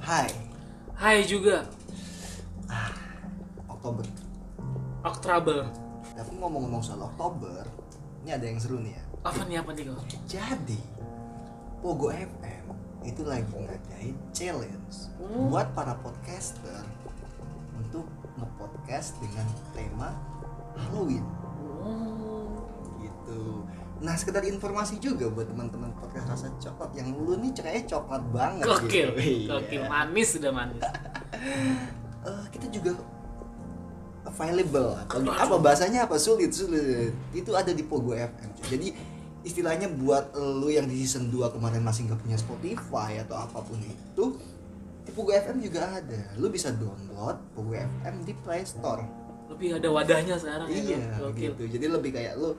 Hai, Hai juga, Oktober. Oktrabel. Tapi ngomong-ngomong soal Oktober, ini ada yang seru nih ya. Apa nih apa nih kau? Jadi, Pogo FM itu lagi ngadain challenge Hmm. buat para podcaster untuk ngepodcast dengan tema Halloween Oh. gitu. Nah, sekedar informasi juga buat teman-teman podcast rasa coklat yang lu nih ceranya coklat banget Gokil, gitu. Iya. gokil manis sudah manis. Eh, kita juga available atau Aduh. apa bahasanya apa sulit sulit itu ada di Pogo FM cuy. jadi istilahnya buat lu yang di season 2 kemarin masih nggak punya Spotify atau apapun itu di Pogo FM juga ada lu bisa download Pogo FM di Play Store Lebih ada wadahnya sekarang ya. iya Bro. Gokil. gitu jadi lebih kayak lu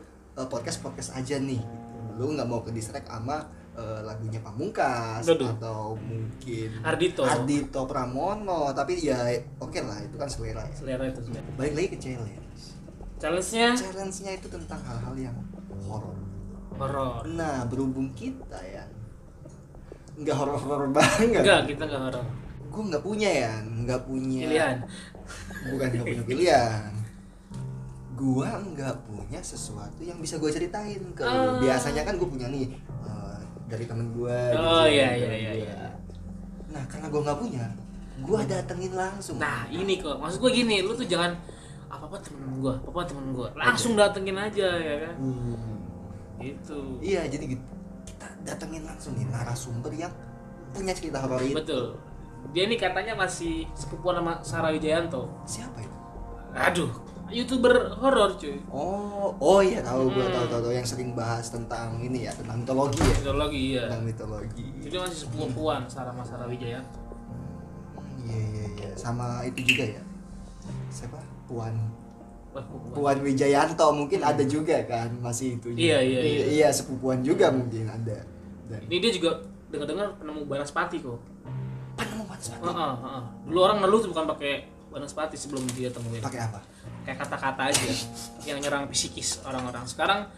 podcast podcast aja nih gitu. lu nggak mau ke distract sama eh, lagunya Pamungkas Aduh. atau mungkin Ardito. Ardito Pramono tapi ya oke lah itu kan selera ya Selera itu selera. balik lagi ke challenge Challenge-nya challenge-nya itu tentang hal-hal yang horor horor. nah berhubung kita ya nggak horor-horor banget Enggak, kita enggak horor. gue nggak punya ya nggak punya Pilihan. bukan nggak punya pilihan gue nggak punya sesuatu yang bisa gue ceritain ke lu. Ah. biasanya kan gue punya nih eh, dari temen gue Oh, iya, iya, iya, iya. nah karena gue nggak punya gue datengin langsung Nah, ini kok. Maksud gue gini, lu tuh jangan apa-apa temen gua, apa-apa temen gua. Iya. Langsung datengin aja ya kan. Hmm. Gitu. Iya, jadi gitu. Kita datengin langsung nih narasumber yang punya cerita horor itu. Betul. Dia ini katanya masih sepupuan sama Sarah Wijayanto. Siapa ya? itu? Aduh, YouTuber horor cuy. Oh, oh iya tahu gua Hmm. tahu tahu tahu yang sering bahas tentang ini ya, tentang mitologi ya, Mitologi iya. tentang mitologi. Jadi masih sepupuan Sarah sama Sarah Wijayanto. Hmm, Iya iya iya, sama itu juga ya. Siapa? Puan Wah, sepupuan. Puan Wijayanto mungkin ada juga kan, masih itu. juga. Hmm. Iya, iya, iya. Iya, sepupuan juga mungkin ada. Dan Ini dia juga dengar-dengar penemu banaspati kok. penemu Banaspati. Heeh, heeh. Dulu orang ngeluh tuh bukan pakai banaspati sebelum dia temuin. Pakai apa? Kayak kata-kata aja yang nyerang psikis orang-orang. Sekarang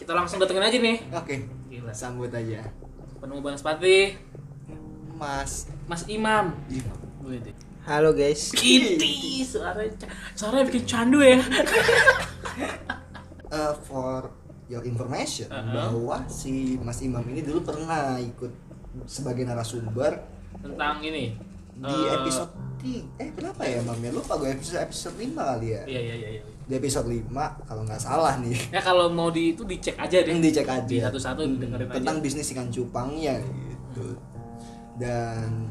kita langsung datengin aja nih. Oke, Gila. sambut aja. Penemu banaspati Mas Mas Imam. Imam. Gue deh. Halo guys. Kiti, suaranya, ca- suaranya bikin candu ya. Uh, for your information Uh-uh. bahwa si Mas Imam ini dulu pernah ikut sebagai narasumber Tentang ini. di eh, episode 3 eh berapa ya Mam ya lupa gue episode episode 5 kali ya Iya, iya, iya, iya. di episode 5 kalau nggak salah nih Ya kalau mau di itu dicek aja deh. yang dicek aja Di satu-satu Hmm, dengerin aja. tentang bisnis ikan cupangnya gitu dan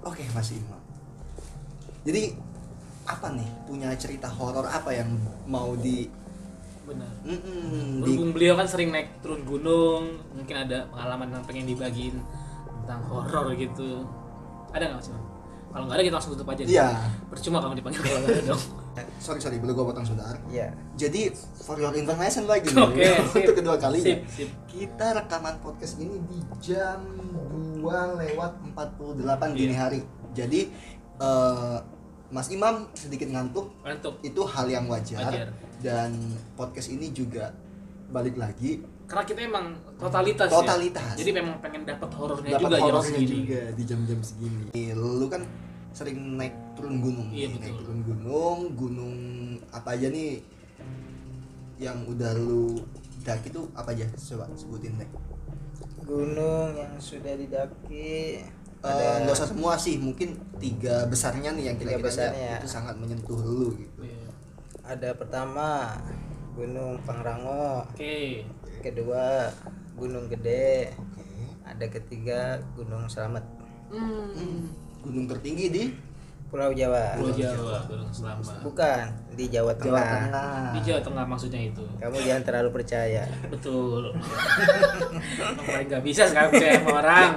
oke Mas Imam jadi apa nih punya cerita horor apa yang mau di Benar. Mm-mm, di Berhubung beliau kan sering naik turun gunung, mungkin ada pengalaman yang pengen dibagiin tentang horor gitu. Ada nggak sih? Bang? Kalau nggak ada kita langsung tutup aja. deh. Iya. Percuma kamu dipanggil kalau nggak ada dong. Eh, sorry sorry belum gue potong saudara Ya. Jadi for your information lagi nih, Iya. Oke, untuk sip. kedua kalinya Sip, sip. Kita rekaman podcast ini di jam 2 lewat 48 dini Iya. hari Jadi eh, Mas Imam sedikit ngantuk Mantap. Itu hal yang wajar, Wajar. Dan podcast ini juga balik lagi Karena kita emang totalitas. ya. Totalitas. Jadi memang pengen dapat horornya Dapat Nah, juga ya, jam horornya segini. juga di jam-jam segini Nih, Lu kan sering naik turun gunung Iya, nih, Naik betul. turun gunung, gunung apa aja nih Yang udah lu daki tuh apa aja? Coba sebutin deh Gunung yang sudah didaki Eh, nggak usah semua sih mungkin tiga besarnya nih yang Tiga iya. kira-kira besarnya. itu sangat menyentuh lu gitu Iya. ada pertama Gunung Pangrango, Oke. kedua Gunung Gede, oke Iya. ada ketiga Gunung Selamet. Hmm. Hmm, gunung tertinggi di Pulau Jawa. Pulau Jawa, Gunung Selamat. Nah. Bukan di Jawa Jawa Tengah. Tengah Di Jawa Tengah maksudnya itu. Kamu jangan terlalu percaya. Betul. Yang paling nggak bisa sekarang percaya sama orang.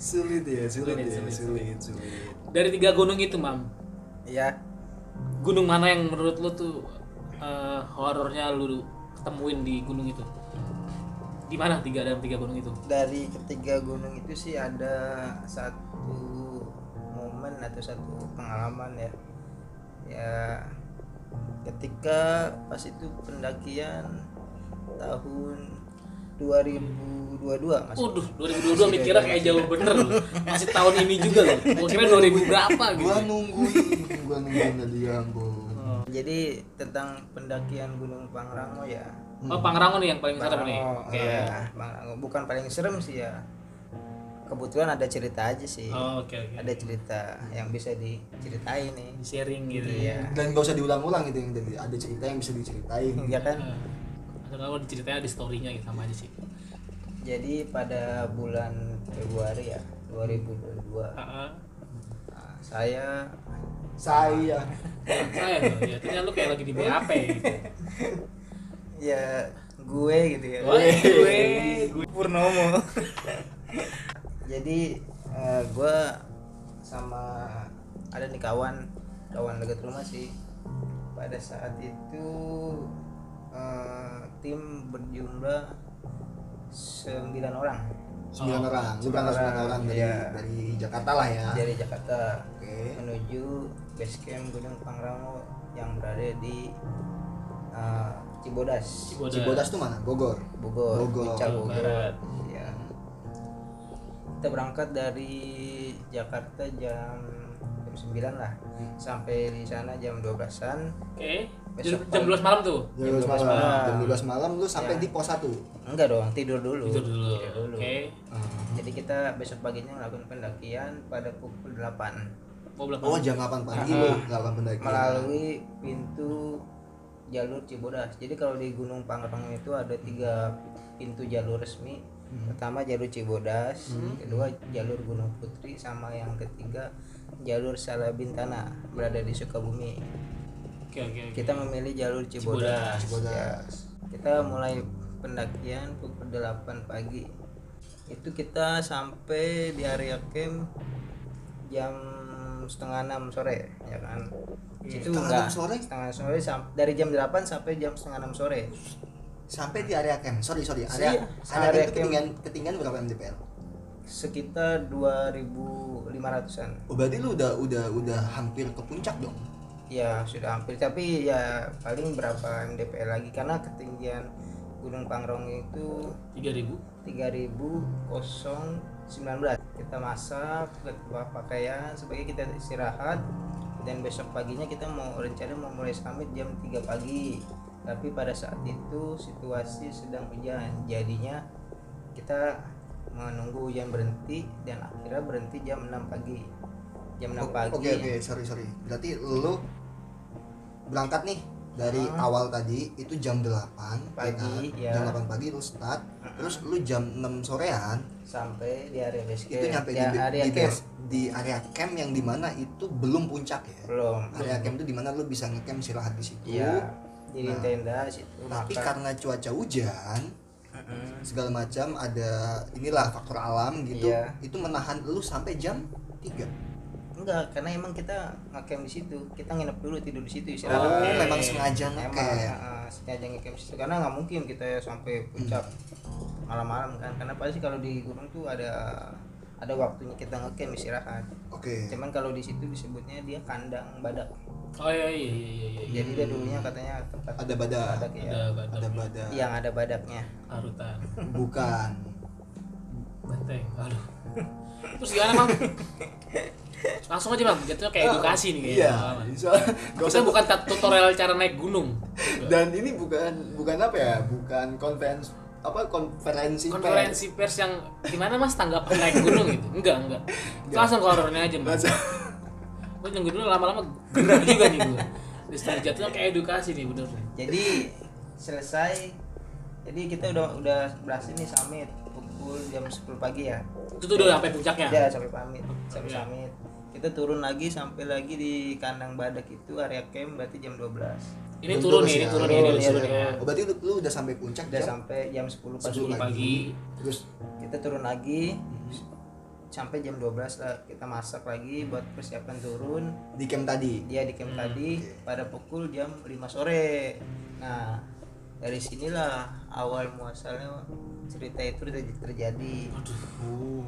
sulit ya sulit, Sulit, ya sulit, sulit sulit Dari tiga gunung itu, Mam, Ya, gunung mana yang menurut lu tuh eh, horornya lu ketemuin di gunung itu? Di mana tiga dalam tiga gunung itu? dari ketiga gunung itu sih ada satu momen atau satu pengalaman ya ya ketika pas itu pendakian tahun 2022 mas Waduh, 2022 mikirnya kayak jauh gitu. bener loh. Masih tahun ini juga loh. Gua kira 2000 berapa gitu. gua nungguin gua nungguin dari Ambon Oh. jadi tentang pendakian Gunung Pangrango ya Oh, Pangrango nih yang paling serem nih. Iya. Pangrango, Oke. eh, Pangrango. bukan paling serem sih ya kebetulan ada cerita aja sih Oh, oke oke. ada cerita yang bisa diceritain nih Di sharing gitu ya. iya dan gak usah diulang-ulang gitu yang tadi ada cerita yang bisa diceritain ya kan Atau kalau diceritain Eh, di story-nya gitu sama aja sih. jadi pada bulan Februari ya Heeh. 2022 nah, saya saya Saya loh, ya. Ternyata lu kayak lagi di BAP. gitu. ya gue gitu ya Wah, gue gue Purnomo jadi eh, gue sama ada nih kawan kawan dekat rumah sih pada saat itu eh, tim berjumlah 9 orang sembilan Oh, orang lu sembilan berangkat sembilan orang, orang dari iya. dari Jakarta lah ya dari Jakarta oke menuju base camp Gunung Pangrango yang berada di eh, Cibodas, Cibodas. Cibodas tuh mana Bogor Bogor, Bogor. puncak Jawa Bogor. Barat. Iya. Kita berangkat dari Jakarta jam jam 9 lah. Sampai di sana jam 12-an. Oke. Besok Jam 12 malam tuh. jam 12 12 malam malam. jam 12 malam lu sampai Ya. di pos 1 Enggak dong, tidur dulu. Tidur dulu. Tidur Oke. dulu. Jadi kita besok paginya melakukan pendakian pada pukul 8 Mau belum? oh jam 8 pagi lu melakukan pendakian melalui pintu jalur Cibodas. Jadi kalau di Gunung Pangrango itu ada tiga pintu jalur resmi. Pertama jalur Cibodas, kedua jalur Gunung Putri, sama yang ketiga jalur Salabintana berada di Sukabumi. Oke oke. oke. Kita memilih jalur Cibodas. Ya. Cibodas. Kita mulai pendakian pukul 8 pagi. Itu kita sampai di area camp jam setengah enam sore, ya kan? Itu Setengah enggak enam sore? setengah enam sore sam- dari jam 8 sampai jam setengah enam sore. sampai di area camp sorry sorry area Iya, area, camp itu area camp. ketinggian ketinggian berapa mdpl Sekitar 2.500-an. oh berarti lu udah udah udah hampir ke puncak dong Ya sudah hampir tapi ya paling berapa MDPL lagi karena ketinggian Gunung Pangrango itu 3000. 3019 kita masak kita bawa pakaian sebagai kita istirahat dan besok paginya kita mau rencana mau mulai summit jam 3 pagi tapi pada saat itu situasi sedang hujan jadinya kita menunggu hujan berhenti dan akhirnya berhenti jam 6 pagi jam 6 O- pagi Oh, Oke oke, sorry sorry. Berarti lu berangkat nih dari awal tadi itu jam 8 Ah. Pagi, ya ya. Ah. kan? Jam 8 pagi lu start. Terus lu jam 6 sorean sampai di area base camp itu nyampe di, Ya, area di, camp. base- di area camp yang dimana itu belum puncak ya. belum Area camp itu dimana lu bisa ngecamp istirahat di situ. iya di Nah, tenda situ Tapi kan makan. karena cuaca hujan Mm-mm. segala macam ada inilah faktor alam gitu. Iya. Itu menahan lu sampai jam 3. enggak karena emang kita ngakem di situ kita nginep dulu tidur di situ Oh, iya. istirahat memang sengaja emang ngecamp. uh, sengaja ngecamp di situ karena nggak mungkin kita sampai puncak malam-malam kan karena pasti kalau di gunung tuh ada ada waktunya kita ngecamp istirahat Oke. cuman kalau di situ disebutnya dia kandang badak Oh iya iya iya iya. iya. jadi dia dulunya katanya tempat Ada badak. badak ya Ada Ada badak badan. yang ada badaknya Harutan. Bukan. Banteng. Aduh. Terus gimana, Bang? Langsung aja, Bang. Jatuhnya kayak edukasi nih kayaknya. Iya. pengalaman. bisa. Gak usah Maksudnya bukan ta- tutorial cara naik gunung. Dan ini bukan bukan apa ya? Bukan konferensi apa konferensi pers. Konferensi pers yang gimana Mas tanggapan naik gunung gitu? Enggak, enak Langsung ke horornya aja, Mas. Langsung. Gue nunggu dulu lama-lama gerak juga nih gue. Terus tadi jatuhnya kayak edukasi nih, bener. jadi selesai jadi kita udah udah berhasil nih summit pukul jam 10 pagi ya Itu tuh udah sampai puncaknya. ya sampai pamit sampai Iya. summit kita turun lagi sampai lagi di kandang badak itu area camp berarti jam Ini 12 Belum turun terus nih, ini ya. turun nih, ini Belum, turun iya, ya. Oh, berarti lu, lu udah sampai puncak udah jam? sampai jam 10 pagi Sebelum Pagi. Terus kita turun lagi Mhm. sampai jam 12 lah kita masak lagi buat persiapan turun di camp tadi. dia di camp tadi pada pukul jam 5 sore nah dari sinilah awal muasalnya cerita itu terj- terjadi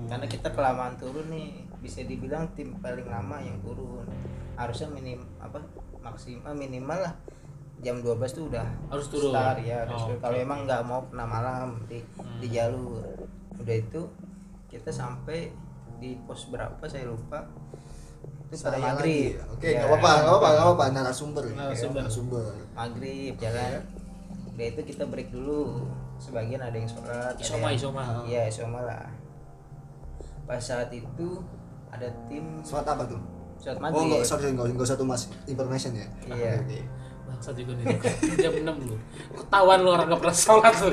karena kita kelamaan turun nih bisa dibilang tim paling lama yang turun harusnya minim apa maksimal eh, minimal lah jam 12 tuh udah Harus turun. start ya harus Oh, turun. kalau oke. emang nggak mau kena malam di di Hmm. jalur udah itu kita sampai di pos berapa saya lupa itu pada Saya maghrib lagi ya. Oke, Ya, nggak apa-apa, nggak apa-apa, nggak apa-apa. Narasumber. ya. Narasumber. Narasumber. maghrib jalan udah itu kita break dulu sebagian ada yang sholat ada Isoma, yang- isoma. iya isoma lah pas saat itu ada tim Surat apa tuh? sholat Oh, maghrib nggak, sorry, nggak, nggak satu mas information ya. Iya. Oke, oke. Bangsat juga nih. Jam 6 lu. Ketahuan lu orang gak pernah sholat lu.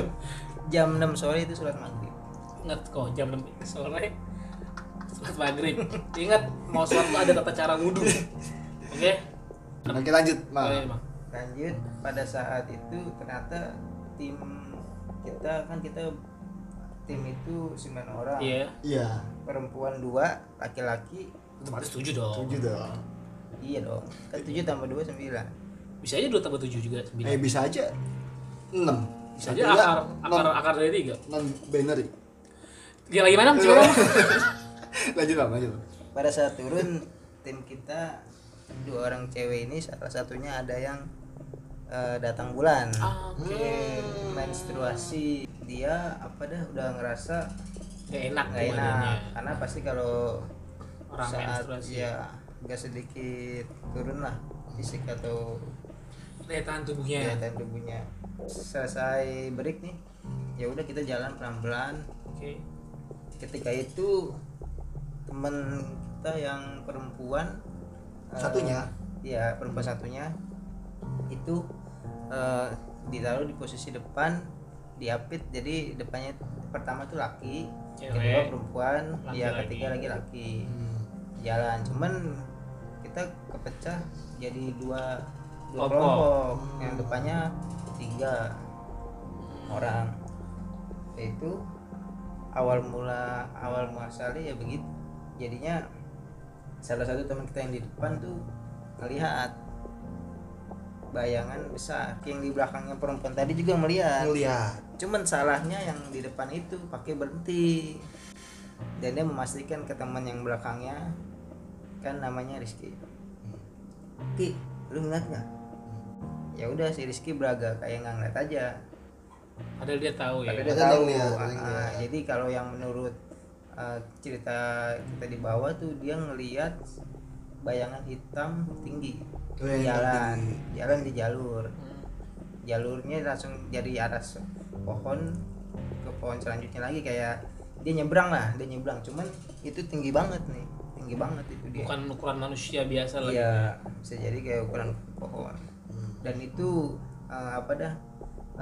jam 6 sore itu sholat maghrib Ingat kok jam 6 sore sholat maghrib. Ingat mau sholat lu ada tata cara wudhu. Oke. Oke, lanjut. Ma. Oke, Bang. lanjut pada saat itu ternyata tim kita kan kita tim itu 9 orang Iya. Iya. perempuan dua laki-laki Otomatis 7 dong. Tujuh dong. iya dong kan 7 tambah 2 9 Bisa aja 2 tambah 7 juga Eh 9. bisa aja enam. Bisa aja Tapi nggak, akar akar non- akar dari 3. non binary. Gila gimana coba? lanjut lah, lanjut. Bang. pada saat turun tim kita dua orang cewek ini salah satunya ada yang eh, datang bulan Ah, oke. menstruasi dia apa dah udah ngerasa Gak enak nggak tuh badannya. enak karena pasti kalau Orang saat menstruasi. ya agak sedikit turun lah fisik atau Daya tahan tubuhnya. kelihatan tubuhnya selesai break nih ya udah kita jalan pelan-pelan Oke. ketika itu teman kita yang perempuan eh, Satunya? iya perempuan satunya itu eh, ditaruh di posisi depan diapit jadi depannya pertama tuh laki Cewek. kedua perempuan ya Laki-laki. ketiga lagi laki Hmm, jalan cuman kita kepecah jadi dua dua Kelompok. kelompok yang depannya tiga orang itu awal mula awal muasalnya ya begitu jadinya salah satu teman kita yang di depan tuh melihat bayangan besar yang di belakangnya perempuan tadi juga melihat Ngeliat. cuman salahnya yang di depan itu pakai berhenti dan dia memastikan ke teman yang belakangnya kan namanya Rizky Ki lu ngeliat nggak ya udah si Rizky beraga kayak nggak ngeliat aja Padahal dia tahu ya. tapi dia Padahal tahu ngeliat, ah, ngeliat. ah. jadi kalau yang menurut eh, cerita kita di bawah tuh dia ngeliat bayangan hitam tinggi Oh, yang di jalan tinggi. jalan di jalur Hmm. jalurnya langsung dari arah se- pohon ke pohon selanjutnya lagi kayak dia nyebrang lah dia nyebrang cuman itu tinggi banget nih tinggi banget itu dia Bukan ukuran manusia biasa lah. iya bisa jadi kayak ukuran pohon Hmm. dan itu eh, apa dah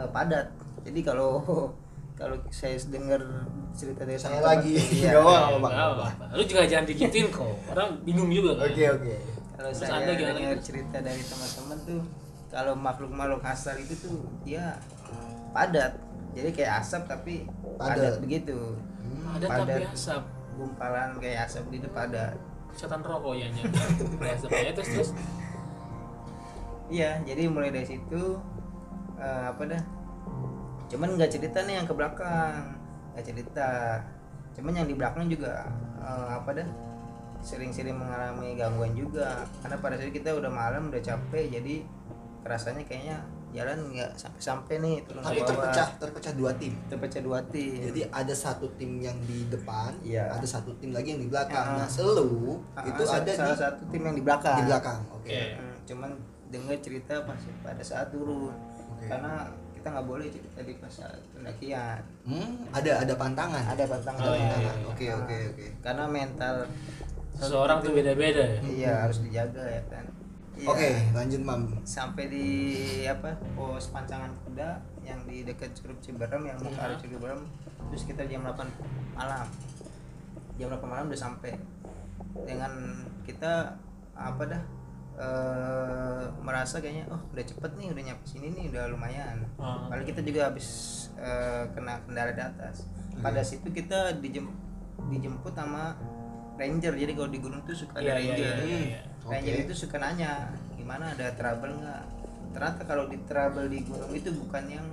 eh, padat jadi kalau kalau saya dengar cerita dari Saya teman, lagi. iya. Gak apa-apa. Nggak apa-apa. Lu juga jangan digituin kok. Orang bingung juga kan. Oke, oke. kalau Terus saya Anda gimana? dengar cerita dari teman-teman tuh kalau makhluk-makhluk asal itu tuh dia padat jadi kayak asap tapi padat, Padat. begitu Ada tapi ya. Padat. asap. gumpalan kayak asap gitu padat Setan rokok ya nyanyi. Asap ya terus terus. iya jadi mulai dari situ eh, apa dah cuman nggak cerita nih yang ke belakang nggak cerita cuman yang di belakang juga eh, apa dah sering-sering mengalami gangguan juga karena pada saat kita udah malam udah capek jadi rasanya kayaknya jalan nggak sampai-sampai nih turun ke Tapi bawah. terpecah, terpecah dua tim. terpecah dua tim Jadi ada satu tim yang di depan, Iya. ada satu tim lagi yang di belakang. Ah. Nah, selu Ah, itu sa- ada salah di, satu tim yang di belakang di belakang. Oke. Oke. Hmm, cuman dengar cerita pas pada saat turun Oke. karena kita nggak boleh cerita di pas saat pendakian Hmm, ada ada pantangan. ada tantangan Oh, iya, pantangan. iya. Oke, oke, oke. karena mental Seseorang tuh beda-beda ya. iya harus dijaga ya kan Iya. Oke, lanjut Mam. sampai di apa pos pancangan kuda yang di dekat Curug Ciberem yang Iya. mau ke arah Curug Ciberem terus kita jam 8 malam jam 8 malam udah sampai dengan kita apa dah eh, merasa kayaknya oh udah cepet nih udah nyampe sini nih udah lumayan Ah. Padahal kita juga habis eh, kena kendala di atas. Iya. Pada situ kita dijem- dijemput sama ranger. Jadi kalau di gunung tuh suka Iya, iya, ada ranger. iya, iya, iya. Oke. Ranger Nah, itu suka nanya, gimana ada trouble nggak? Ternyata kalau di trouble di gunung itu bukan yang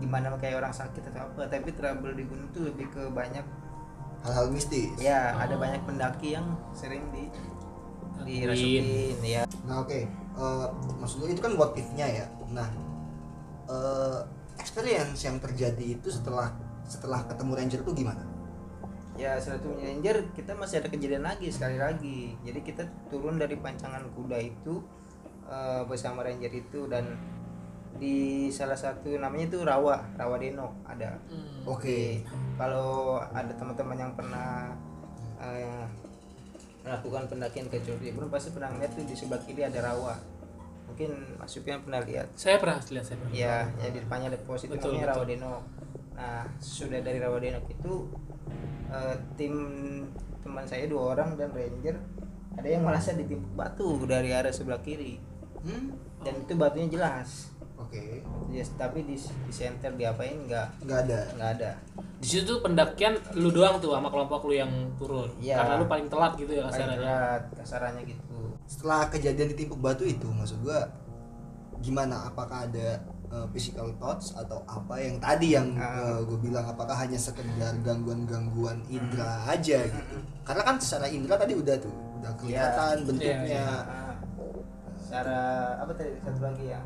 gimana kayak orang sakit atau apa, tapi trouble di gunung tuh lebih ke banyak Hal-hal mistis. Iya. ya ada banyak pendaki yang sering di dirasukin ya Nah, oke. eh, maksudnya itu kan what if-nya ya nah eh, experience yang terjadi itu setelah setelah ketemu ranger tuh gimana ya setelah itu Ranger kita masih ada kejadian lagi sekali lagi jadi kita turun dari pancangan kuda itu eh, bersama ranger itu dan di salah satu namanya itu rawa rawa deno ada Hmm. oke kalau ada teman-teman yang pernah eh, melakukan pendakian ke Curug Jebun pasti pernah lihat tuh di sebelah kiri ada rawa mungkin Mas Supian pernah lihat Saya pernah lihat saya pernah. ya ya di depannya ada pos itu Betul, namanya betul. Rawadenok nah sudah dari Rawadenok itu eh, tim teman saya dua orang dan ranger ada yang merasa ditimpuk batu dari arah sebelah kiri Hmm, dan itu batunya jelas oke Yes, tapi di di center diapain nggak nggak ada nggak ada Di situ tuh pendakian lu doang tuh sama kelompok lu yang turun. Iya. Karena lu paling telat gitu ya paling kasarnya. berat kasarannya gitu setelah kejadian ditimpuk batu itu maksud gua gimana apakah ada eh, physical thoughts atau apa yang tadi yang Ah. gue bilang apakah hanya sekedar gangguan-gangguan indra aja gitu karena kan secara indra tadi udah tuh udah kelihatan bentuknya Nah, secara apa tadi satu lagi ya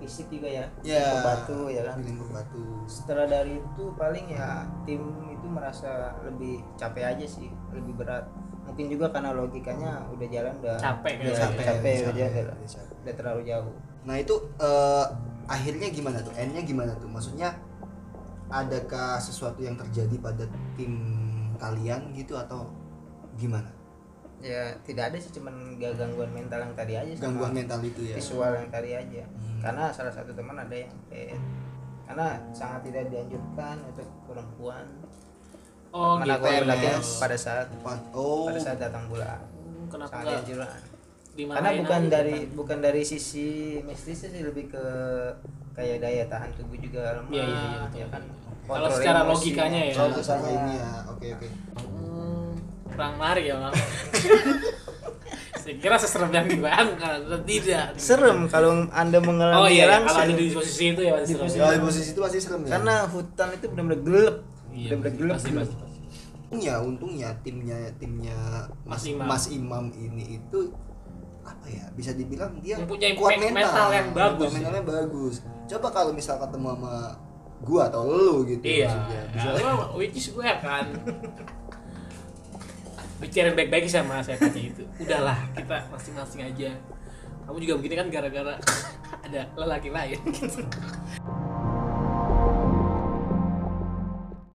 fisik juga ya ya Timpuk batu ya kan ditimpuk batu setelah dari itu paling ya tim itu merasa lebih capek aja sih lebih berat mungkin juga karena logikanya udah jalan udah Capek ya, ya. capek, udah capek, jalan udah capek. udah terlalu jauh Nah itu eh, akhirnya gimana tuh? Endnya gimana tuh? Maksudnya adakah sesuatu yang terjadi pada tim kalian gitu atau gimana? ya tidak ada sih cuman gak gangguan mental yang tadi aja sama Gangguan mental itu ya? visual Kan yang tadi aja Hmm. karena salah satu teman ada yang kayak karena sangat tidak dianjurkan untuk perempuan Oh, melakukan gitu. pendakian Yes. pada saat Empat- Oh, pada saat datang bulan Hmm, Kenapa gitu sangat enggak dianjurkan dimarahin? karena bukan aja, dari Pak? bukan dari sisi mistisnya sih lebih ke kayak daya tahan tubuh juga lemah Iya, iya, iya, betul. ya kan Kalau Kontrol secara emosi, logikanya ya. salah logikanya. salah ini ya. Oke oke. Hmm, kurang menarik ya, Bang. Saya kira seserem yang dibayangkan, ternyata tidak. serem kalau anda mengalami Oh iya, langsung kalau ada di posisi itu ya pasti serem. Ya, di posisi itu pasti serem ya. karena hutan itu benar-benar gelap Iya, benar-benar gelap pasti, gelap. pasti, pasti. untungnya untungnya timnya timnya Mas Imam. Mas Imam ini itu apa ya bisa dibilang dia Yang punya impact mental yang bagus ya. mentalnya bagus coba kalau misal ketemu sama gua atau lu gitu Iya. maksudnya. bisa Kalau which is gue kan bicarain baik-baik sama saya tanya itu. Udahlah, kita masing-masing aja. Kamu juga begini kan gara-gara ada lelaki lain. gitu.